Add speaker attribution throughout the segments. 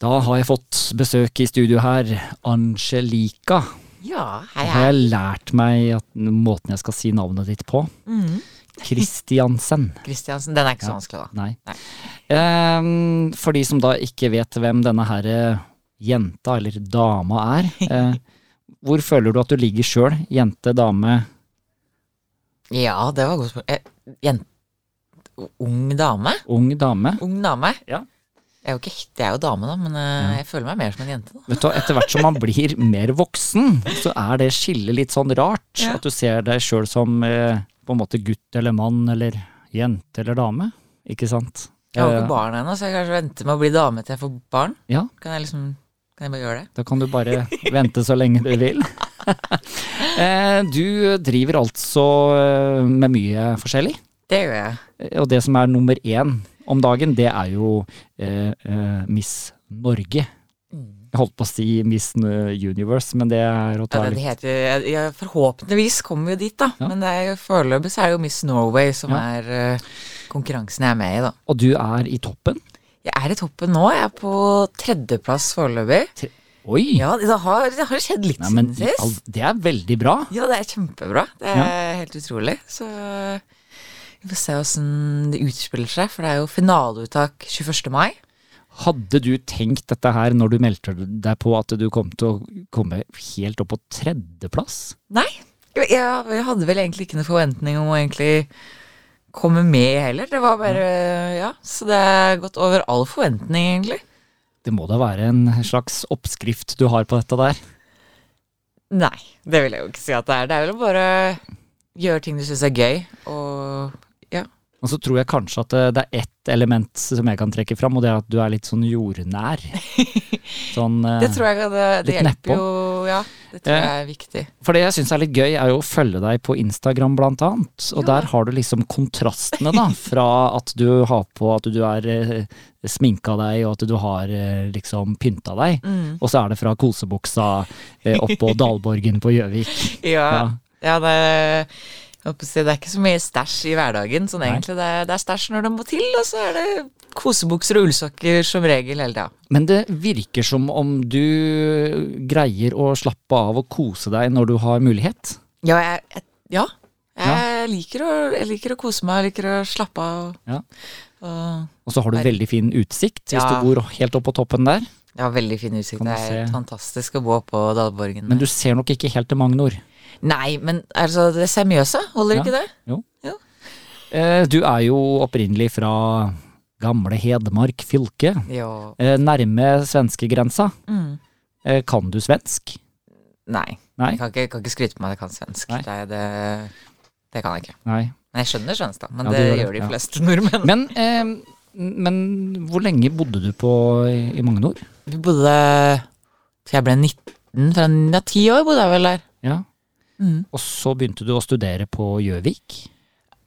Speaker 1: Da har jeg fått besøk i studio her. Angelica.
Speaker 2: Ja, hei,
Speaker 1: Da har
Speaker 2: hei.
Speaker 1: jeg lært meg at, måten jeg skal si navnet ditt på.
Speaker 2: Mhm.
Speaker 1: Kristiansen.
Speaker 2: Kristiansen, den er ikke så
Speaker 1: Ja.
Speaker 2: vanskelig, da.
Speaker 1: Nei.
Speaker 2: Nei.
Speaker 1: Ehm, for de som da ikke vet hvem denne her eh, jenta eller dama er, eh, hvor føler du at du ligger sjøl? Jente, dame?
Speaker 2: Ja, det var godt spørsmål. Eh, Jen... Ung dame?
Speaker 1: Ung dame?
Speaker 2: Ung dame?
Speaker 1: Ja.
Speaker 2: Jeg er jo ikke Det er jo dame, da, men eh, jeg føler meg mer som en jente, da.
Speaker 1: Vet du, hva, Etter hvert som man blir mer voksen, så er det skillet litt sånn rart.
Speaker 2: Ja.
Speaker 1: At du ser deg sjøl som eh, på en måte gutt eller mann eller jente eller dame. Ikke sant?
Speaker 2: Jeg har jo
Speaker 1: Eh,
Speaker 2: ikke barn ennå, så jeg kanskje venter med å bli dame til jeg får barn.
Speaker 1: Ja.
Speaker 2: Kan jeg liksom Kan jeg bare gjøre det?
Speaker 1: Da kan du bare vente så lenge du vil. Eh, Du driver altså eh, med mye forskjellig,
Speaker 2: Det gjør jeg.
Speaker 1: Eh, og det som er nummer én om dagen, det er jo eh, eh, Miss Norge. Jeg holdt på å si Miss eh, Universe, men det er å
Speaker 2: Ja,
Speaker 1: ta
Speaker 2: den
Speaker 1: litt
Speaker 2: heter, jeg- jeg, forhåpentligvis kommer vi dit, da.
Speaker 1: Ja.
Speaker 2: Men det er, jo- foreløpig så er det jo Miss Norway som
Speaker 1: Ja.
Speaker 2: er eh, konkurransen jeg er med i, da.
Speaker 1: Og du er i toppen?
Speaker 2: Jeg er i toppen nå. Jeg er på tredjeplass foreløpig.
Speaker 1: Oi!
Speaker 2: Ja, det har, det har skjedd litt
Speaker 1: Nei, men
Speaker 2: siden
Speaker 1: i all,
Speaker 2: sist.
Speaker 1: det er veldig bra.
Speaker 2: Ja, det er kjempebra. Det er helt utrolig. Så vi får se åssen det utspiller seg, for det er jo finaleuttak 21. mai.
Speaker 1: Hadde du tenkt dette her når du meldte deg på at du kom til å komme helt opp på tredjeplass?
Speaker 2: Nei, jeg, jeg, jeg hadde vel egentlig ikke noen forventning om å egentlig komme med heller. Det var bare Ja, så det er gått over all forventning, egentlig.
Speaker 1: Det må da være en slags oppskrift du har på dette der?
Speaker 2: Nei, det vil jeg jo ikke si at det er. Det er vel bare gjøre ting du syns er gøy, og ja.
Speaker 1: Og så tror jeg kanskje at eh, det- det er ett element som jeg kan trekke fram, og det er at du er litt sånn jordnær. Sånn, eh,
Speaker 2: Det tror jeg det, det
Speaker 1: Litt nedpå.
Speaker 2: hjelper jo. Ja, det tror
Speaker 1: Eh.
Speaker 2: jeg er viktig.
Speaker 1: For det jeg syns er litt gøy, er jo å følge deg på Instagram, blant annet. Og der har du liksom kontrastene, da. Fra at du har på at du er eh, sminka deg, og at du har eh, liksom pynta deg. Og så er det fra kosebuksa eh, oppå Dalborgen på Gjøvik.
Speaker 2: Ja, ja det, jeg holdt på å si, det er ikke så mye stæsj i hverdagen. Sånn
Speaker 1: Nei.
Speaker 2: egentlig, det, er- det er stæsj når det må til, og så er det kosebukser og ullsokker som regel hele tida.
Speaker 1: Men det virker som om du greier å slappe av og kose deg når du har mulighet.
Speaker 2: Ja, jeg, jeg, ja, jeg, Liker å, jeg liker å kose meg, jeg liker å slappe av.
Speaker 1: Ja.
Speaker 2: Og,
Speaker 1: Og så har du veldig fin utsikt hvis
Speaker 2: Ja.
Speaker 1: du bor helt oppå toppen der.
Speaker 2: det var veldig fin utsikt.
Speaker 1: Kan du
Speaker 2: Det er
Speaker 1: se-
Speaker 2: helt fantastisk å bo oppå Dalborgen.
Speaker 1: Men du ser nok ikke helt til Magnor.
Speaker 2: Nei, men altså, det ser Mjøsa, holder
Speaker 1: Ja.
Speaker 2: ikke det?
Speaker 1: Jo.
Speaker 2: Ja.
Speaker 1: Eh, Du er jo opprinnelig fra gamle Hedmark fylke,
Speaker 2: Jo.
Speaker 1: eh, nærme svenskegrensa.
Speaker 2: Mm.
Speaker 1: Eh, Kan du svensk?
Speaker 2: Nei.
Speaker 1: Nei?
Speaker 2: Jeg kan ikke, kan ikke skryte på meg at jeg kan svensk.
Speaker 1: Nei.
Speaker 2: Det, er- det, det kan jeg ikke.
Speaker 1: Nei.
Speaker 2: Men jeg skjønner svensk, da. Men
Speaker 1: Ja,
Speaker 2: det,
Speaker 1: du gjør det,
Speaker 2: gjør de
Speaker 1: ja.
Speaker 2: fleste nordmenn.
Speaker 1: Men, eh, men hvor lenge bodde du på i i Magnor?
Speaker 2: Vi bodde til jeg ble 19, fra ja, 10 år bodde jeg vel der.
Speaker 1: Ja. Og så begynte du å studere på Gjøvik?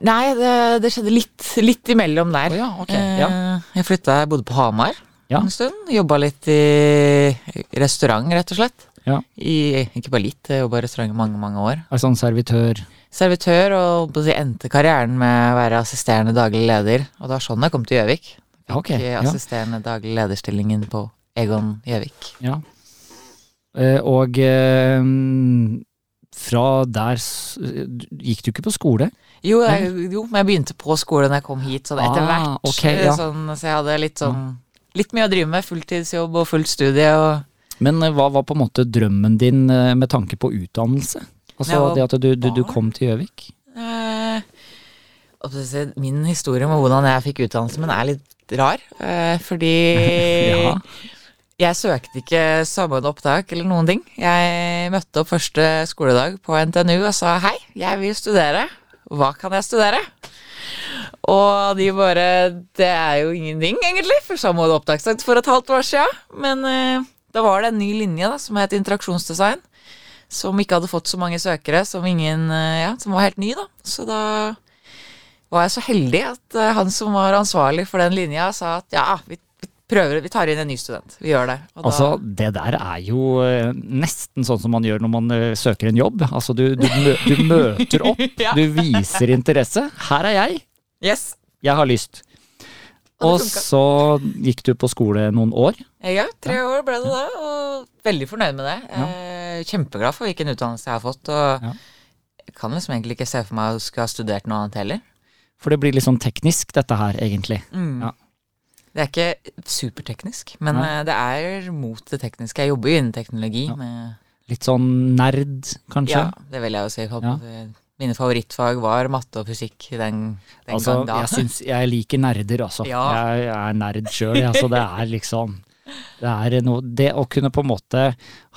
Speaker 2: Nei, det, det skjedde litt, litt imellom
Speaker 1: Å
Speaker 2: der.
Speaker 1: ja, ok. Ja.
Speaker 2: Eh, Jeg flytta, jeg bodde på Hamar
Speaker 1: Ja.
Speaker 2: en stund. Jobba litt i restaurant, rett og slett.
Speaker 1: Ja.
Speaker 2: I, ikke bare litt, jeg jobba i restaurant i mange, mange år.
Speaker 1: Er sånn servitør
Speaker 2: Servitør, og holdt på å si, endte karrieren med å være assisterende daglig leder. Og det var sånn jeg kom til Gjøvik.
Speaker 1: Ja, ok.
Speaker 2: Fikk
Speaker 1: Ja.
Speaker 2: assisterende daglig lederstillingen på Egon Gjøvik.
Speaker 1: Ja. Eh, Og eh, fra der s- gikk du ikke på skole?
Speaker 2: Jo, jeg, jo, men jeg begynte på skole da jeg kom hit, sånn etter hvert.
Speaker 1: Ah, ok, ja. Mm.
Speaker 2: sånn, så jeg hadde litt sånn Litt mye å drive med. Fulltidsjobb og fullt studie og
Speaker 1: Men eh, hva var på en måte drømmen din eh, med tanke på utdannelse? Altså
Speaker 2: Jeg var
Speaker 1: det at du, du, du
Speaker 2: barn.
Speaker 1: kom til Gjøvik?
Speaker 2: eh, og så si, Min historie om hvordan jeg fikk utdannelsen min, er litt rar. Eh, fordi
Speaker 1: Ja.
Speaker 2: jeg søkte ikke samordnet opptak eller noen ting. Jeg møtte opp første skoledag på NTNU og sa hei, jeg vil studere. Hva kan jeg studere? Og de bare Det er jo ingenting, egentlig, for samordnet opptaksakt for et halvt år siden. Men eh, da var det en ny linje da, som het interaksjonsdesign. Som ikke hadde fått så mange søkere, som, ingen, eh, ja, som var helt ny, da. Så da var jeg så heldig at eh, han som var ansvarlig for den linja, sa at ja, vi, vi prøver, vi tar inn en ny student. Vi gjør det. Og da-
Speaker 1: Altså, det der er jo eh, nesten sånn som man gjør når man eh, søker en jobb. Altså, du, du, mø du møter opp,
Speaker 2: Ja.
Speaker 1: du viser interesse. Her er jeg,
Speaker 2: Yes.
Speaker 1: jeg har lyst. Og
Speaker 2: funket.
Speaker 1: så gikk du på skole noen år.
Speaker 2: Eh, Ja, tre år ble det da, og veldig fornøyd med det.
Speaker 1: Ja.
Speaker 2: Eh, Kjempeglad for hvilken utdannelse jeg har fått, og
Speaker 1: Ja.
Speaker 2: jeg kan liksom egentlig ikke se for meg å skulle ha studert noe annet heller.
Speaker 1: For det blir litt sånn teknisk, dette her, egentlig.
Speaker 2: Mm.
Speaker 1: Ja.
Speaker 2: Det er ikke superteknisk, men
Speaker 1: Nei.
Speaker 2: eh, det er mot det tekniske. Jeg jobber jo innen teknologi.
Speaker 1: Ja.
Speaker 2: Med,
Speaker 1: Litt sånn nerd, kanskje.
Speaker 2: ja, det vil jeg jo si.
Speaker 1: Ja.
Speaker 2: Mine favorittfag var matte og fysikk den, den
Speaker 1: altså,
Speaker 2: gang da.
Speaker 1: jeg, syns, jeg liker nerder, altså.
Speaker 2: Ja.
Speaker 1: Jeg er nerd sjøl, jeg. Så det er liksom det, er noe, det å kunne på en måte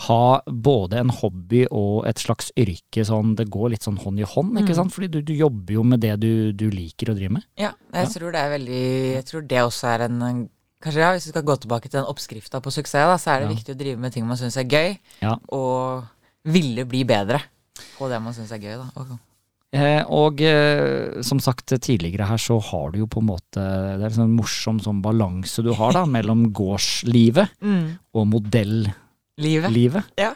Speaker 1: ha både en hobby og et slags yrke sånn, det går litt sånn hånd i hånd,
Speaker 2: Mm.
Speaker 1: ikke sant? Fordi du, du jobber jo med det du, du liker å drive med.
Speaker 2: Ja, jeg tror det er veldig Jeg tror det også er en en- Kanskje ja, Hvis vi skal gå tilbake til den oppskrifta på suksess, da, så er det
Speaker 1: Ja.
Speaker 2: viktig å drive med ting man syns er gøy,
Speaker 1: Ja.
Speaker 2: og ville bli bedre på det man syns er gøy. da Og-
Speaker 1: Eh, og eh, som sagt tidligere her, så har du jo på en måte Det er en sånn morsom sånn balanse du har da, mellom gårdslivet og modelllivet.
Speaker 2: Livet. Ja.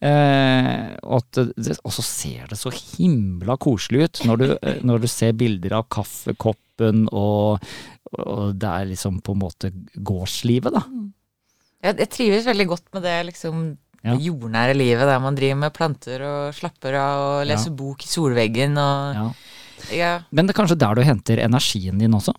Speaker 1: Eh, og, at det, og så ser det så himla koselig ut når du, eh, når du ser bilder av kaffekoppen og, og det er liksom på en måte gårdslivet, da.
Speaker 2: Jeg, jeg trives veldig godt med det liksom
Speaker 1: Ja.
Speaker 2: jordnære livet der man driver med planter og slapper av og leser bok i solveggen og
Speaker 1: Ja.
Speaker 2: Ja,
Speaker 1: Men det er kanskje der du henter energien din også?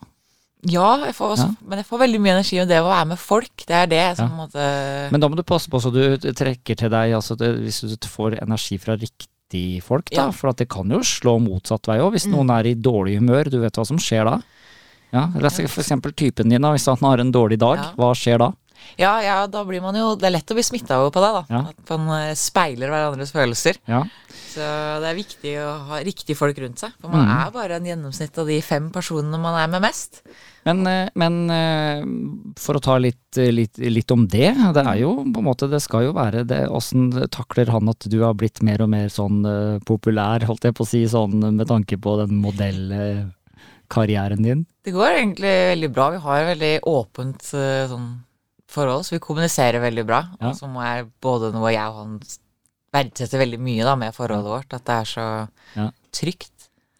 Speaker 2: ja, jeg får også, men jeg får veldig mye energi av det å være med folk. Det er det som på en måte
Speaker 1: Men da må du passe på så du trekker til deg altså det, hvis du får energi fra riktig folk, da.
Speaker 2: Ja. Mm.
Speaker 1: For at det kan jo slå motsatt vei òg, hvis noen er i dårlig humør. Du vet hva som skjer da. Ja, eller altså for eksempel typen din, da. Hvis han har en dårlig dag,
Speaker 2: Ja.
Speaker 1: hva skjer da?
Speaker 2: Ja, ja, da blir man jo Det er lett å bli smitta over på det, da.
Speaker 1: Ja.
Speaker 2: At man eh, speiler hverandres følelser.
Speaker 1: Ja.
Speaker 2: Så det er viktig å ha riktige folk rundt seg. For man
Speaker 1: Mm.
Speaker 2: er bare en gjennomsnitt av de fem personene man er med mest.
Speaker 1: Men, eh, men eh, for å ta litt, eh, litt, litt om det, det er jo på en måte, det skal jo være det, åssen takler han at du har blitt mer og mer sånn eh, populær, holdt jeg på å si, sånn med tanke på den modellkarrieren din?
Speaker 2: Det går egentlig veldig bra. Vi har et veldig åpent eh, sånn forhold, så vi kommuniserer veldig bra.
Speaker 1: Ja.
Speaker 2: Og som er både noe jeg og han verdsetter veldig mye da, med forholdet vårt, at det er så
Speaker 1: Ja.
Speaker 2: trygt.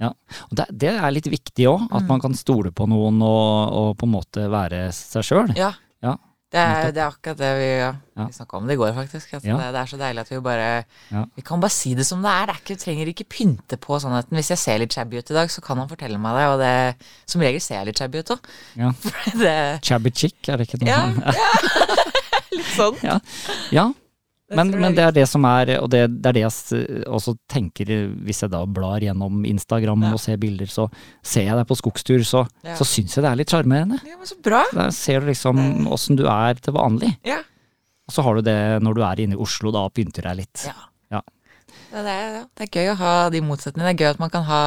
Speaker 1: Ja, og det, det er litt viktig òg,
Speaker 2: Mm.
Speaker 1: at man kan stole på noen og, og på en måte være seg sjøl.
Speaker 2: Ja,
Speaker 1: Ja.
Speaker 2: det er, det er akkurat det vi, ja,
Speaker 1: Ja.
Speaker 2: vi snakka om det i går, faktisk. At
Speaker 1: Ja.
Speaker 2: det, det er så deilig at vi bare
Speaker 1: Ja.
Speaker 2: Vi kan bare si det som det er. Det er ikke, vi trenger ikke pynte på sannheten. Hvis jeg ser litt shabby ut i dag, så kan han fortelle meg det, og det, som regel ser jeg litt shabby ut òg.
Speaker 1: Ja.
Speaker 2: det
Speaker 1: Chabby chick, er det ikke noe?
Speaker 2: Ja,
Speaker 1: som-
Speaker 2: ja. litt sånn.
Speaker 1: ja. ja.
Speaker 2: Jeg
Speaker 1: Men,
Speaker 2: tror
Speaker 1: men
Speaker 2: det
Speaker 1: det er det som er, og det, det er det jeg s- også tenker eh, hvis jeg da blar gjennom Instagram
Speaker 2: Ja.
Speaker 1: og ser bilder, så ser jeg deg på skogstur, så,
Speaker 2: Ja.
Speaker 1: så syns jeg det er litt sjarmerende.
Speaker 2: Ja, men så bra.
Speaker 1: Der ser du liksom åssen du er til vanlig.
Speaker 2: Ja.
Speaker 1: Og så har du det når du er inne i Oslo, da og pynter deg litt.
Speaker 2: Ja.
Speaker 1: Ja.
Speaker 2: Det, er, det er gøy å ha de motsetningene. Det er gøy at man kan ha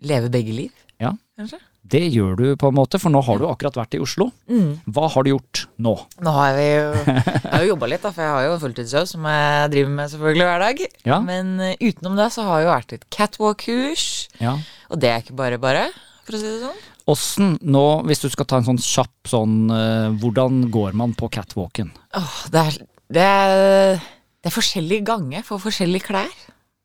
Speaker 2: leve begge liv,
Speaker 1: Mm. Ja.
Speaker 2: kanskje.
Speaker 1: Det gjør du på en måte, for nå har du akkurat vært i Oslo. Hva har du gjort nå?
Speaker 2: Mm. Nå har vi jo, jeg har jo jobba litt, da, for jeg har jo en fulltidsjobb som jeg driver med selvfølgelig hver dag.
Speaker 1: Ja.
Speaker 2: Men eh, utenom det så har jeg jo vært litt catwalk-kurs,
Speaker 1: Ja.
Speaker 2: og det er ikke bare bare, for å si det sånn.
Speaker 1: Åssen nå, hvis du skal ta en sånn kjapp sånn eh, Hvordan går man på catwalken?
Speaker 2: Åh, det, er, det, er, det er forskjellige ganger for forskjellige klær.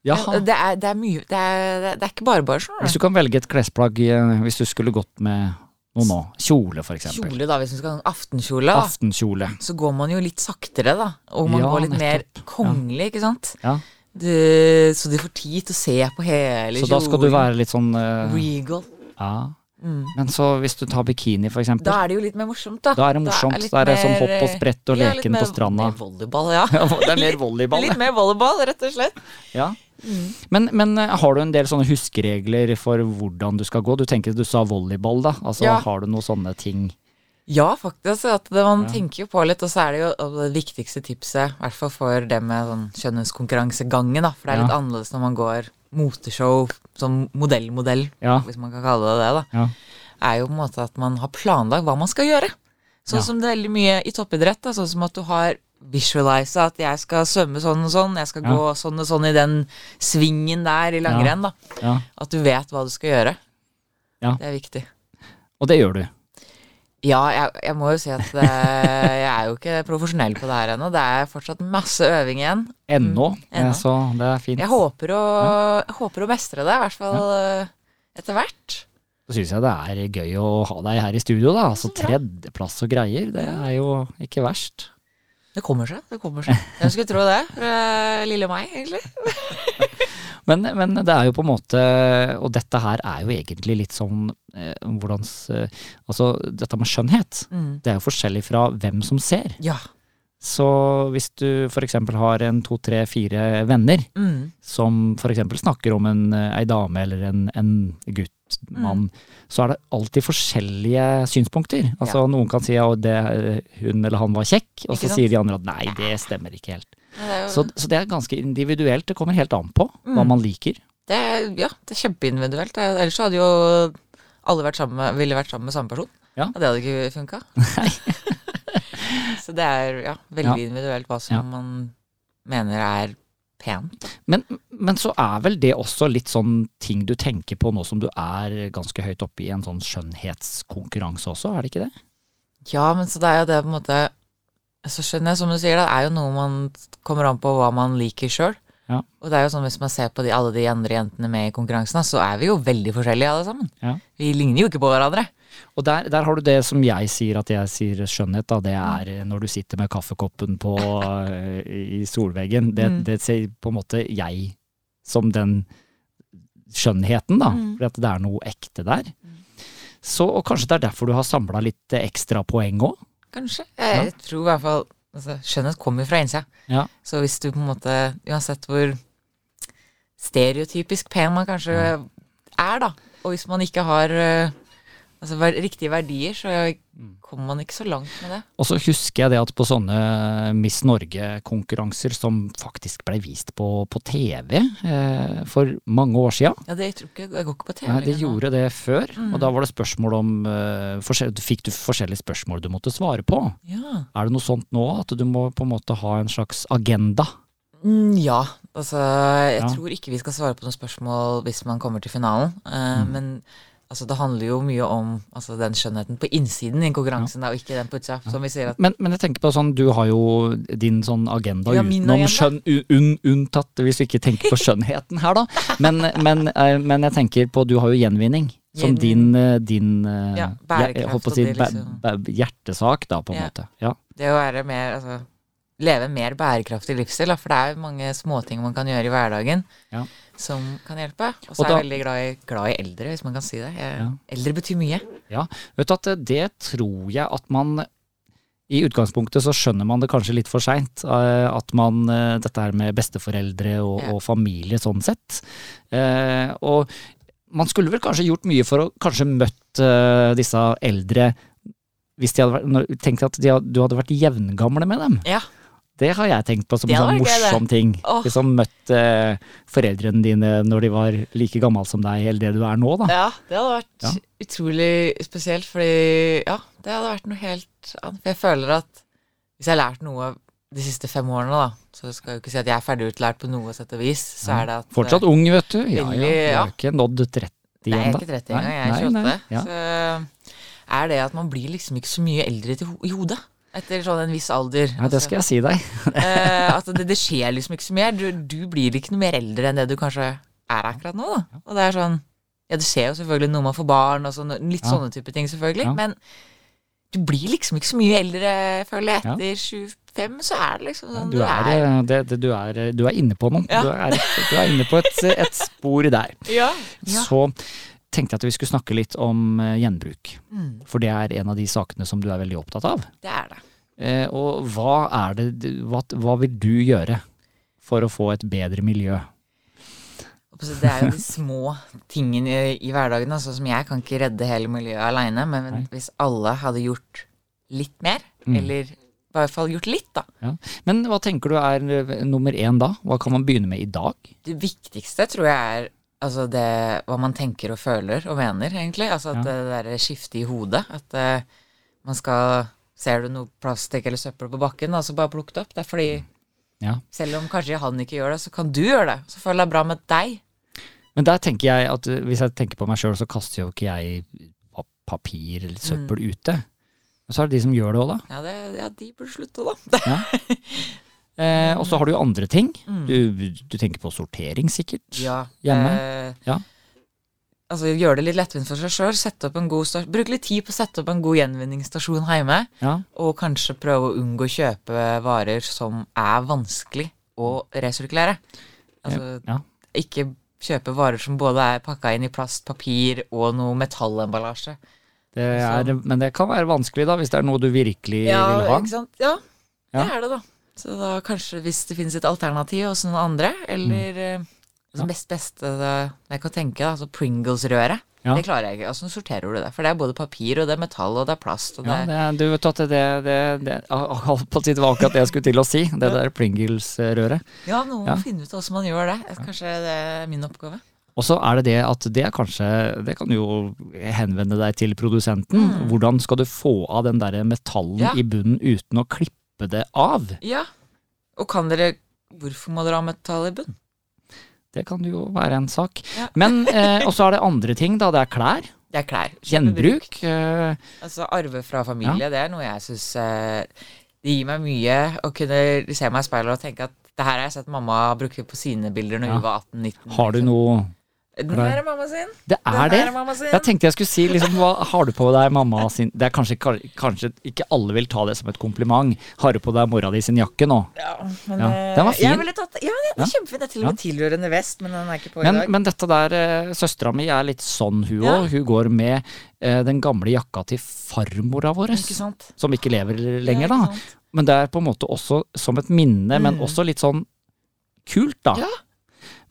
Speaker 1: Jaha.
Speaker 2: Det er, det er mye Det er, det er ikke bare bare, skjønner
Speaker 1: Hvis
Speaker 2: du.
Speaker 1: du kan velge et klesplagg eh, hvis du skulle gått med noe nå. Kjole, for eksempel.
Speaker 2: Kjole, da, hvis du skal ha aftenkjole. Da.
Speaker 1: Aftenkjole.
Speaker 2: så går man jo litt saktere, da. Og man
Speaker 1: Ja,
Speaker 2: går litt
Speaker 1: nettopp.
Speaker 2: mer kongelig, ikke sant.
Speaker 1: Ja.
Speaker 2: Det- så de får tid til å se på hele
Speaker 1: Så da skal du være litt sånn eh,
Speaker 2: regal.
Speaker 1: Ja.
Speaker 2: Mm.
Speaker 1: Men så hvis du tar bikini, for eksempel.
Speaker 2: Da er det jo litt mer morsomt, da.
Speaker 1: Da er det morsomt.
Speaker 2: litt
Speaker 1: Da er det sånn
Speaker 2: mer, eh,
Speaker 1: hopp og sprett og
Speaker 2: ja, litt
Speaker 1: leken
Speaker 2: mer-
Speaker 1: på stranda.
Speaker 2: mer Volleyball, ja.
Speaker 1: Ja, Det er mer volleyball.
Speaker 2: Litt Mm. mer volleyball, rett og slett.
Speaker 1: Ja. Men, men eh, har du en del sånne huskeregler for hvordan du skal gå? Du tenker du sa volleyball, da. Altså,
Speaker 2: Ja.
Speaker 1: Har du noen sånne ting?
Speaker 2: Ja, faktisk. At det, man tenker jo på litt, og så er det jo og det viktigste tipset, i hvert fall for det med sånn skjønnhetskonkurransegangen, da. For det er litt
Speaker 1: Ja.
Speaker 2: annerledes når man går moteshow som modell-modell,
Speaker 1: Ja.
Speaker 2: hvis man kan kalle det det, da.
Speaker 1: ja.
Speaker 2: er jo på en måte at man har planlagt hva man skal gjøre. Sånn
Speaker 1: Ja.
Speaker 2: som det er veldig mye i toppidrett. Da, sånn som at du har visualisa at jeg skal svømme sånn og sånn, jeg skal
Speaker 1: Ja.
Speaker 2: gå sånn og sånn i den svingen der i langrenn. Da.
Speaker 1: ja.
Speaker 2: At du vet hva du skal gjøre.
Speaker 1: Ja.
Speaker 2: Det er viktig.
Speaker 1: Og det gjør du.
Speaker 2: Ja, jeg, jeg må jo si at eh, jeg er jo ikke profesjonell på det her ennå. Det er fortsatt masse øving igjen.
Speaker 1: Ennå,
Speaker 2: Mm, ennå.
Speaker 1: eh, så det er fint.
Speaker 2: Jeg håper å, jeg håper å mestre det, i hvert fall eh, etter hvert.
Speaker 1: Så syns jeg det er gøy å ha deg her i studio, da. Altså tredjeplass og greier, det er jo ikke verst.
Speaker 2: Det kommer seg. det kommer seg. Hvem skulle tro det? Fra eh, lille meg, egentlig.
Speaker 1: Men, men det er jo på en måte Og dette her er jo egentlig litt sånn eh, hvordan s- eh, Altså, dette med skjønnhet,
Speaker 2: Mm.
Speaker 1: det er jo forskjellig fra hvem som ser.
Speaker 2: Ja.
Speaker 1: Så hvis du f.eks. har en to, tre, fire venner
Speaker 2: Mm.
Speaker 1: som f.eks. snakker om en, eh, ei dame eller en, en gutt, mann,
Speaker 2: Mm.
Speaker 1: så er det alltid forskjellige synspunkter. Altså Noen kan si at eh, hun eller han var kjekk, og
Speaker 2: Ikke
Speaker 1: så
Speaker 2: sant?
Speaker 1: sier de andre at nei, det stemmer ikke helt.
Speaker 2: Men Det er jo,
Speaker 1: Så, så det er ganske individuelt. Det kommer helt an på hva
Speaker 2: Mm.
Speaker 1: man liker.
Speaker 2: det er, ja, det er kjempeindividuelt. Det er- Ellers så hadde jo alle vært sammen med, ville vært sammen med samme person.
Speaker 1: Ja.
Speaker 2: Og det hadde ikke funka. så det er ja, veldig individuelt hva som
Speaker 1: Ja.
Speaker 2: man mener er pent. da.
Speaker 1: Men, men så er vel det også litt sånn ting du tenker på nå som du er ganske høyt oppe i en sånn skjønnhetskonkurranse også, er det ikke det?
Speaker 2: Ja, men så det er jo det på en måte Så skjønner jeg, som du sier, det er jo noe man kommer an på hva man liker sjøl.
Speaker 1: Ja.
Speaker 2: Og det er jo sånn hvis man ser på de, alle de andre jentene med i konkurransen, da, så er vi jo veldig forskjellige alle sammen.
Speaker 1: Ja.
Speaker 2: Vi ligner jo ikke på hverandre.
Speaker 1: Og der, der har du det som jeg sier at jeg sier skjønnhet, da. Det er eh, når du sitter med kaffekoppen på, eh, i solveggen. Det,
Speaker 2: Mm.
Speaker 1: det sier på en måte jeg som den skjønnheten, da.
Speaker 2: Mm.
Speaker 1: For at det er noe ekte der. Så, og kanskje det er derfor du har samla litt eh, ekstra poeng òg?
Speaker 2: Kanskje. Jeg, jeg tror i hvert fall altså, Skjønnhet kommer jo fra innsida.
Speaker 1: Ja.
Speaker 2: Så hvis du på en måte Uansett hvor stereotypisk pen man kanskje er, da, og hvis man ikke har eh, altså, ver- riktige verdier, så
Speaker 1: Mm.
Speaker 2: kommer man ikke så langt med det.
Speaker 1: Og så husker jeg det at på sånne Miss Norge-konkurranser som faktisk ble vist på, på TV eh, for mange år sia.
Speaker 2: Ja, det jeg tror ikke, jeg går ikke på TV
Speaker 1: Nei, de
Speaker 2: lenger nå.
Speaker 1: gjorde det før, og
Speaker 2: Mm.
Speaker 1: da var det spørsmål om eh, forskjell- Fikk du forskjellige spørsmål du måtte svare på?
Speaker 2: Ja.
Speaker 1: Er det noe sånt nå at du må på en måte ha en slags agenda?
Speaker 2: Mm, ja. Altså, jeg
Speaker 1: Ja.
Speaker 2: tror ikke vi skal svare på noen spørsmål hvis man kommer til finalen. eh,
Speaker 1: Mm.
Speaker 2: Men altså, det handler jo mye om altså, den skjønnheten på innsiden i konkurransen, da, og ikke den på utsida. Som vi sier at
Speaker 1: Men, men jeg tenker på sånn, du har jo din sånn agenda
Speaker 2: Ja, min
Speaker 1: utenom
Speaker 2: agenda.
Speaker 1: skjønn, u- un, unntatt hvis du ikke tenker på skjønnheten her, da. Men, men, eh, men jeg tenker på, du har jo gjenvinning. Som
Speaker 2: Gjenvinning.
Speaker 1: din, eh, din eh,
Speaker 2: Ja,
Speaker 1: jeg- jeg
Speaker 2: bærekraft
Speaker 1: holdt på å
Speaker 2: og
Speaker 1: si,
Speaker 2: det
Speaker 1: bæ-
Speaker 2: liksom.
Speaker 1: bæ- hjertesak, da, på en
Speaker 2: Ja.
Speaker 1: måte. Ja.
Speaker 2: det å være mer altså, Leve en mer bærekraftig livsstil, da, for det er jo mange småting man kan gjøre i hverdagen
Speaker 1: Ja.
Speaker 2: som kan hjelpe. Og så
Speaker 1: Og
Speaker 2: er jeg
Speaker 1: da-
Speaker 2: veldig glad i, glad i eldre, hvis man kan si det. Jeg,
Speaker 1: Ja.
Speaker 2: Eldre betyr mye.
Speaker 1: ja. Vet du at eh, det tror jeg at man i utgangspunktet så skjønner man det kanskje litt for seint. At man eh, Dette her med besteforeldre og,
Speaker 2: Ja.
Speaker 1: og familie sånn sett. Eh, og man skulle vel kanskje gjort mye for å kanskje møtt eh, disse eldre hvis de hadde vært, når, Tenk at de, had- du hadde vært jevngamle med dem.
Speaker 2: Ja.
Speaker 1: Det har jeg tenkt på som
Speaker 2: Det
Speaker 1: en
Speaker 2: hadde
Speaker 1: sånn
Speaker 2: vært gøy, det.
Speaker 1: morsom ting.
Speaker 2: Åh.
Speaker 1: Liksom møtt eh, foreldrene dine når de var like gammel som deg, eller det du er nå, da.
Speaker 2: Ja, det hadde vært
Speaker 1: Ja.
Speaker 2: utrolig spesielt, fordi ja, det hadde vært noe helt annet. For jeg føler at hvis jeg har lært noe de siste fem årene, da, så skal jeg jo ikke si at jeg er ferdig utlært på noe sett og vis, så er det at
Speaker 1: Fortsatt ung, vet du. Ja, ja.
Speaker 2: Veldig,
Speaker 1: Du
Speaker 2: ja.
Speaker 1: har ikke nådd 30
Speaker 2: Nei, jeg er
Speaker 1: ennå.
Speaker 2: ikke 30 engang, jeg
Speaker 1: Nei, nei,
Speaker 2: er 28.
Speaker 1: nei, ja.
Speaker 2: Så er det at man blir liksom ikke så mye eldre til ho i hodet etter sånn en viss alder. Altså,
Speaker 1: Ja, det skal jeg si deg.
Speaker 2: eh, altså, det, det skjer liksom ikke så mye. Du, du blir ikke noe mer eldre enn det du kanskje er akkurat nå. Da. Og det er sånn Ja, du ser jo selvfølgelig når man får barn, og sånn, litt
Speaker 1: Ja.
Speaker 2: sånne type ting, selvfølgelig.
Speaker 1: Ja.
Speaker 2: Men du blir liksom ikke så mye eldre, føler jeg.
Speaker 1: Ja.
Speaker 2: Etter 25 så er det liksom sånn
Speaker 1: Du er, eh, det, det, du er, eh, du er inne på noe.
Speaker 2: Ja.
Speaker 1: Du, er, du er inne på et, et spor der.
Speaker 2: Ja. ja.
Speaker 1: Så tenkte jeg at vi skulle snakke litt om eh, gjenbruk.
Speaker 2: Mm,
Speaker 1: For det er en av de sakene som du er veldig opptatt av.
Speaker 2: det er det.
Speaker 1: Eh, og hva er det du- hva, hva vil du gjøre for å få et bedre miljø?
Speaker 2: Og så Det er jo de små tingene i, i hverdagen. Altså, som jeg kan ikke redde hele miljøet aleine, men
Speaker 1: Nei.
Speaker 2: hvis alle hadde gjort litt mer,
Speaker 1: Mm.
Speaker 2: eller i hvert fall gjort litt, da.
Speaker 1: Ja. Men hva tenker du er eh, nummer én da? Hva kan man begynne med i dag?
Speaker 2: Det viktigste tror jeg er altså det, hva man tenker og føler og mener, egentlig. Altså at
Speaker 1: Ja.
Speaker 2: det derre skiftet i hodet. At eh, man skal Ser du noe plastikk eller søppel på bakken, altså bare plukk det opp. Det er fordi
Speaker 1: Ja.
Speaker 2: selv om kanskje han ikke gjør det, så kan du gjøre det. Så føler jeg bra med deg.
Speaker 1: Men der tenker jeg at eh, hvis jeg tenker på meg sjøl, så kaster jo ikke jeg pa- papir eller søppel
Speaker 2: Mm.
Speaker 1: ute. Men så er det de som gjør det òg, da.
Speaker 2: Ja, det, ja de burde slutte, da.
Speaker 1: Eh, og så har du jo andre ting.
Speaker 2: Mm.
Speaker 1: Du, du tenker på sortering, sikkert.
Speaker 2: Ja.
Speaker 1: Hjemme?
Speaker 2: eh,
Speaker 1: Ja.
Speaker 2: altså, gjøre det litt lettvint for seg sjøl. Bruke litt tid på å sette opp en god gjenvinningsstasjon hjemme.
Speaker 1: Ja.
Speaker 2: Og kanskje prøve å unngå å kjøpe varer som er vanskelig å resirkulere. Altså
Speaker 1: ja.
Speaker 2: ikke kjøpe varer som både er pakka inn i plast, papir og noe metallemballasje.
Speaker 1: Det er, men det kan være vanskelig, da, hvis det er noe du virkelig vil ha.
Speaker 2: ikke sant? Ja, det
Speaker 1: Ja.
Speaker 2: er det, da. Så da kanskje hvis det finnes et alternativ hos noen andre, eller eh,
Speaker 1: Mm. Ja.
Speaker 2: det best, beste da, jeg kan tenke, da, altså Pringles-røret.
Speaker 1: Ja.
Speaker 2: Det klarer jeg ikke. Altså, nå sorterer du det. For det er både papir, og det er metall, og det er plast, og
Speaker 1: Ja,
Speaker 2: det er
Speaker 1: det, er- du vet at det, det, det, jeg holdt på å si det var akkurat det jeg skulle til å si, det der eh, Pringles-røret.
Speaker 2: Ja, noen
Speaker 1: Ja.
Speaker 2: må finne ut hvordan man gjør det. Kanskje det er min oppgave.
Speaker 1: Og så er det det at det er kanskje Det kan du jo henvende deg til produsenten. Hvordan skal du få av den derre metallen
Speaker 2: Ja.
Speaker 1: i bunnen uten å klippe det av?
Speaker 2: Ja. Og kan dere Hvorfor må dere ha metall i bunn?
Speaker 1: Det kan jo være en sak.
Speaker 2: Ja.
Speaker 1: Men eh, Og så er det andre ting, da. Det er klær.
Speaker 2: Det er klær. Kjøp og bruk.
Speaker 1: Gjenbruk. Eh,
Speaker 2: Altså arve fra familie, det er noe jeg syns eh, Det gir meg mye å kunne se meg i speilet og tenke at det her har jeg sett mamma bruke på sine bilder når
Speaker 1: Ja.
Speaker 2: hun var 18-19.
Speaker 1: har du noe
Speaker 2: Den her er mamma sin.
Speaker 1: Det
Speaker 2: Den
Speaker 1: er det.
Speaker 2: her er mamma sin.
Speaker 1: Jeg tenkte jeg skulle si liksom, hva har du på deg mamma sin Det er kanskje, kanskje ikke alle vil ta det som et kompliment. Har du på deg mora di sin jakke nå?
Speaker 2: Ja, men,
Speaker 1: Ja,
Speaker 2: eh,
Speaker 1: den var fin.
Speaker 2: Jeg ville tatt, ja, den er
Speaker 1: Ja.
Speaker 2: kjempefin. Det er til og med tilhørende vest, men den er ikke på
Speaker 1: Men,
Speaker 2: i dag.
Speaker 1: men dette der, eh, søstera mi er litt sånn hun
Speaker 2: Ja.
Speaker 1: òg. Hun går med eh, den gamle jakka til farmora vår,
Speaker 2: Ikke sant?
Speaker 1: som ikke lever
Speaker 2: Ja,
Speaker 1: lenger,
Speaker 2: ikke
Speaker 1: da.
Speaker 2: sant?
Speaker 1: Men det er på en måte også som et minne, men
Speaker 2: Mm.
Speaker 1: også litt sånn kult, da.
Speaker 2: Ja.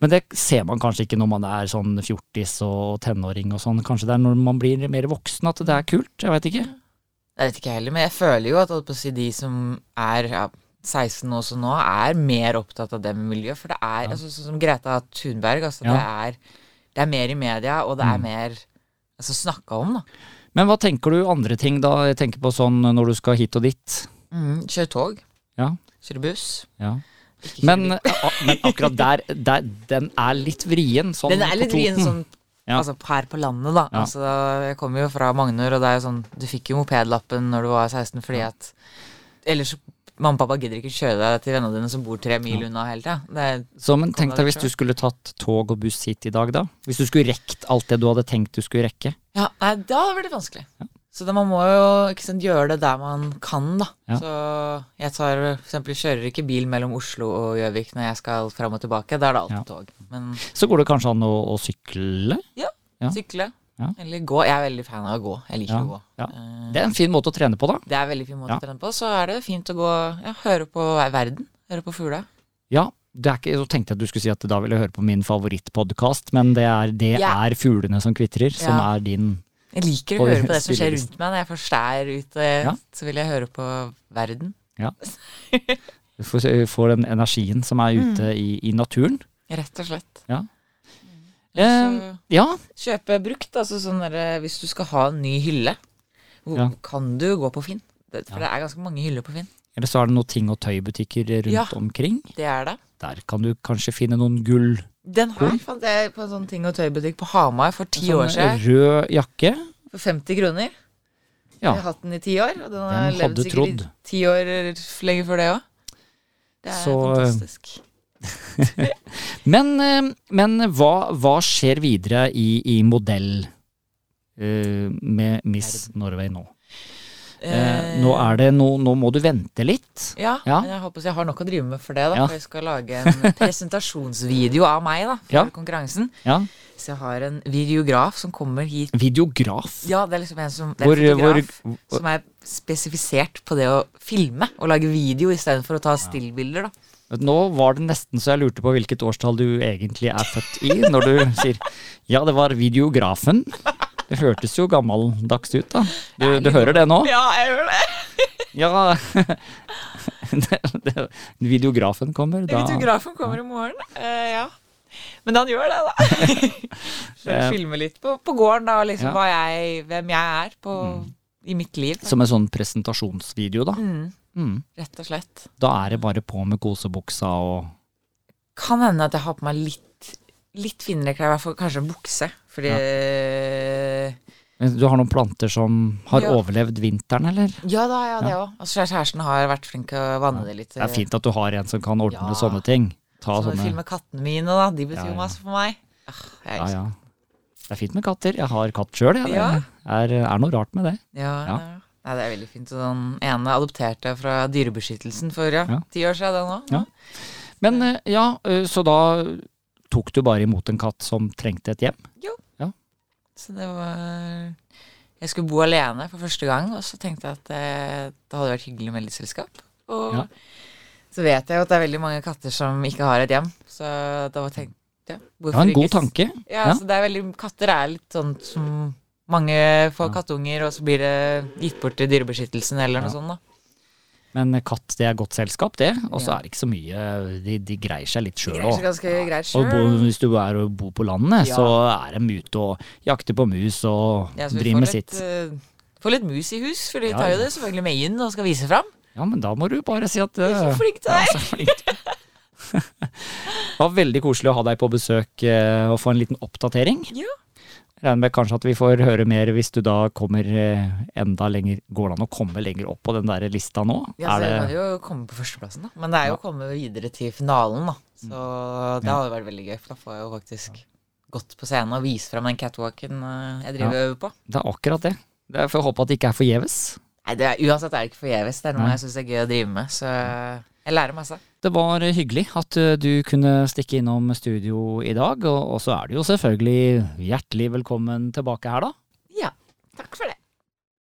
Speaker 1: Men det ser man kanskje ikke når man er sånn fjortis og tenåring og sånn. Kanskje det er når man blir mer voksen at det er kult. Jeg veit ikke.
Speaker 2: Jeg vet ikke jeg heller, men jeg føler jo at holdt på å si, de som er ja, 16 også nå, er mer opptatt av det med miljø. For det er, altså, sånn som Greta Thunberg, altså,
Speaker 1: Ja. Mm.
Speaker 2: det, er, det er mer i media, og det er mer altså, snakka om, da.
Speaker 1: Men hva tenker du andre ting da? Jeg tenker på sånn når du skal hit og dit.
Speaker 2: Mm, kjøre tog,
Speaker 1: Ja.
Speaker 2: kjøre buss.
Speaker 1: ja.
Speaker 2: ikke kjøre
Speaker 1: Men,
Speaker 2: bil.
Speaker 1: a- men akkurat der, der, den er litt vrien. Sånn
Speaker 2: Den er
Speaker 1: på
Speaker 2: litt vrien
Speaker 1: Toten.
Speaker 2: sånn
Speaker 1: Ja.
Speaker 2: altså, her på landet, da.
Speaker 1: Ja.
Speaker 2: Altså, jeg kommer jo fra Magnor, og det er jo sånn Du fikk jo mopedlappen når du var 16 fordi at Ellers mamma og pappa gidder ikke kjøre deg til vennene dine som bor tre mil unna hele tida. Det er
Speaker 1: Så, men
Speaker 2: Kom
Speaker 1: tenk
Speaker 2: deg
Speaker 1: deg hvis
Speaker 2: dit
Speaker 1: du skulle tatt tog og buss hit i dag, da. Hvis du skulle rekt alt det du hadde tenkt du skulle rekke.
Speaker 2: Ja, nei, da blir det vanskelig. Så da man må jo ikke sant, gjøre det der man kan, da.
Speaker 1: Ja.
Speaker 2: Så jeg tar for eksempel kjører ikke bil mellom Oslo og Gjøvik når jeg skal fram og tilbake. Da er det alltid
Speaker 1: Ja.
Speaker 2: tog. Men
Speaker 1: Så går det kanskje an å, å sykle. Ja.
Speaker 2: sykle
Speaker 1: Ja.
Speaker 2: eller gå. Jeg er veldig fan av å gå. Jeg liker
Speaker 1: Ja.
Speaker 2: å gå.
Speaker 1: Ja.
Speaker 2: Eh,
Speaker 1: Det er en fin måte å trene på, da.
Speaker 2: Det er en veldig fin måte
Speaker 1: Ja.
Speaker 2: å trene på. Så er det fint å gå ja, høre på verden. Høre på fugla.
Speaker 1: Ja, det er ikke, så tenkte jeg at du skulle si at da vil jeg høre på min favorittpodkast, men det er, det
Speaker 2: Ja.
Speaker 1: er Fuglene som kvitrer, som
Speaker 2: Ja.
Speaker 1: er din.
Speaker 2: Jeg liker å
Speaker 1: Og
Speaker 2: høre på det som skjer
Speaker 1: spillelisten.
Speaker 2: rundt meg når jeg først er ute.
Speaker 1: Ja.
Speaker 2: Så vil jeg høre på verden.
Speaker 1: Du får, se- får den energien som er ute
Speaker 2: Mm.
Speaker 1: i, i naturen.
Speaker 2: Rett og slett.
Speaker 1: Ja.
Speaker 2: Ellers
Speaker 1: Eh,
Speaker 2: så-
Speaker 1: ja,
Speaker 2: Kjøpe brukt, altså sånn derre Hvis du skal ha en ny hylle, hvor
Speaker 1: Ja.
Speaker 2: kan du gå på Finn? Det, for det er ganske mange hyller på Finn.
Speaker 1: eller så er det noen ting- og tøybutikker rundt
Speaker 2: Ja.
Speaker 1: omkring.
Speaker 2: Det er det.
Speaker 1: Der kan du kanskje finne noen gull.
Speaker 2: Den her fant jeg på en sånn ting og tøybutikk på Hamar for ti år
Speaker 1: Sånn
Speaker 2: siden.
Speaker 1: rød jakke.
Speaker 2: For 50 kroner.
Speaker 1: Ja.
Speaker 2: Jeg har hatt den i ti år, og den har
Speaker 1: Hvem
Speaker 2: levd
Speaker 1: hadde
Speaker 2: sikkert
Speaker 1: trodd?
Speaker 2: i ti år lenge før det òg. Det er
Speaker 1: Så, eh,
Speaker 2: fantastisk.
Speaker 1: Men, eh, men hva, hva skjer videre i, i modell eh, med Miss Norway nå? Eh, nå, er det no, nå må du vente litt.
Speaker 2: ja,
Speaker 1: ja.
Speaker 2: men jeg håper så jeg har nok å drive med for det. da
Speaker 1: Ja.
Speaker 2: For jeg skal lage en presentasjonsvideo av meg da for
Speaker 1: Ja.
Speaker 2: konkurransen.
Speaker 1: Ja.
Speaker 2: Så jeg har en videograf som kommer hit
Speaker 1: Videograf.
Speaker 2: Ja, det er liksom en som det er
Speaker 1: Hvor, eh,
Speaker 2: en
Speaker 1: hvor,
Speaker 2: fotograf som er spesifisert på det å filme og lage video istedenfor å ta stillbilder, da.
Speaker 1: nå var det nesten så jeg lurte på hvilket årstall du egentlig er født i, når du sier ja, det var videografen. Det hørtes jo gammeldags ut, da. Du, du hører det nå?
Speaker 2: Ja, jeg gjør det!
Speaker 1: Ja. Det, det, videografen kommer, da.
Speaker 2: Videografen kommer i morgen. eh, ja. Men han gjør det, da. Så jeg filmer litt på, på gården, da, og liksom
Speaker 1: Ja.
Speaker 2: hva jeg, hvem jeg er på, i mitt liv.
Speaker 1: Som en sånn presentasjonsvideo, da.
Speaker 2: Mm,
Speaker 1: Mm.
Speaker 2: rett og slett.
Speaker 1: Da er det bare på med kosebuksa og
Speaker 2: Kan hende at jeg har på meg litt, litt finere klær, i hvert fall kanskje en bukse. Fordi eh,
Speaker 1: Men Du har noen planter som har
Speaker 2: Ja.
Speaker 1: overlevd vinteren, eller?
Speaker 2: Ja da, ja, det òg. Altså, kjæresten har vært flink til å vanne det litt. eh,
Speaker 1: Det er fint at du har en som kan ordne
Speaker 2: Ja.
Speaker 1: sånne ting. Ta
Speaker 2: Så må vi
Speaker 1: sånne
Speaker 2: filme kattene mine, da. De
Speaker 1: sånn, Ja,
Speaker 2: betyr jo
Speaker 1: ja.
Speaker 2: masse for meg. Ah, jeg
Speaker 1: ja,
Speaker 2: elsker.
Speaker 1: ja. Det er fint med katter. Jeg har katt sjøl, jeg. Det
Speaker 2: Ja.
Speaker 1: er, er noe rart med det.
Speaker 2: Ja,
Speaker 1: Ja.
Speaker 2: ja. Nei, det er veldig fint. Og Den ene adopterte jeg fra Dyrebeskyttelsen for ja,
Speaker 1: Ja.
Speaker 2: ti år siden. Den
Speaker 1: Ja.
Speaker 2: også.
Speaker 1: Men eh, ja, eh, så da tok du bare imot en katt som trengte et hjem?
Speaker 2: Så det var Jeg skulle bo alene for første gang, og så tenkte jeg at det, det hadde vært hyggelig med litt selskap. Og
Speaker 1: Ja.
Speaker 2: så vet jeg jo at det er veldig mange katter som ikke har et hjem, så da var tenkt, ja,
Speaker 1: Det var en
Speaker 2: hvorfor
Speaker 1: god
Speaker 2: ikke s-
Speaker 1: tanke.
Speaker 2: Ja,
Speaker 1: Ja.
Speaker 2: så det er veldig Katter er litt sånn som mange får
Speaker 1: Ja.
Speaker 2: kattunger, og så blir det gitt bort til Dyrebeskyttelsen
Speaker 1: Ja.
Speaker 2: eller noe sånt, da.
Speaker 1: Men katt, det er godt selskap, det. Og så
Speaker 2: Ja.
Speaker 1: er det ikke så mye De, de greier seg litt sjøl
Speaker 2: Det
Speaker 1: òg.
Speaker 2: er ganske greit
Speaker 1: Og bo,
Speaker 2: selv.
Speaker 1: hvis du er og bor på landet,
Speaker 2: Ja.
Speaker 1: så er de ute og jakter på mus og
Speaker 2: Ja, så vi
Speaker 1: driver
Speaker 2: får
Speaker 1: med
Speaker 2: litt,
Speaker 1: sitt.
Speaker 2: eh, Får litt mus i hus, for de
Speaker 1: Ja,
Speaker 2: tar jo
Speaker 1: ja.
Speaker 2: det selvfølgelig med inn og skal vise fram.
Speaker 1: Ja, men da må du bare si at
Speaker 2: Du er så
Speaker 1: eh,
Speaker 2: flink til
Speaker 1: ja,
Speaker 2: deg.
Speaker 1: så flink du er. Det var veldig koselig å ha deg på besøk eh, og få en liten oppdatering.
Speaker 2: Ja.
Speaker 1: Regner med kanskje at vi får høre mer hvis du da kommer eh, enda lenger Går det an å komme lenger opp på den der lista nå?
Speaker 2: Ja,
Speaker 1: Er
Speaker 2: så det kan
Speaker 1: det,
Speaker 2: jo komme på førsteplassen, da. Men det er jo å komme videre til finalen, da. Så det hadde vært veldig gøy, for da får jeg jo faktisk gått på scenen og vist fram den catwalken eh, jeg driver og øver på.
Speaker 1: det er akkurat det. det er, får jeg håpe at det ikke er forgjeves.
Speaker 2: Nei, det er, uansett er det ikke forgjeves. Det er noe
Speaker 1: Nei.
Speaker 2: jeg syns er gøy å drive med, så jeg lærer masse.
Speaker 1: Det var hyggelig at eh, du kunne stikke innom studio i dag, og, og så er du jo selvfølgelig hjertelig velkommen tilbake her, da.
Speaker 2: Ja. Takk for det.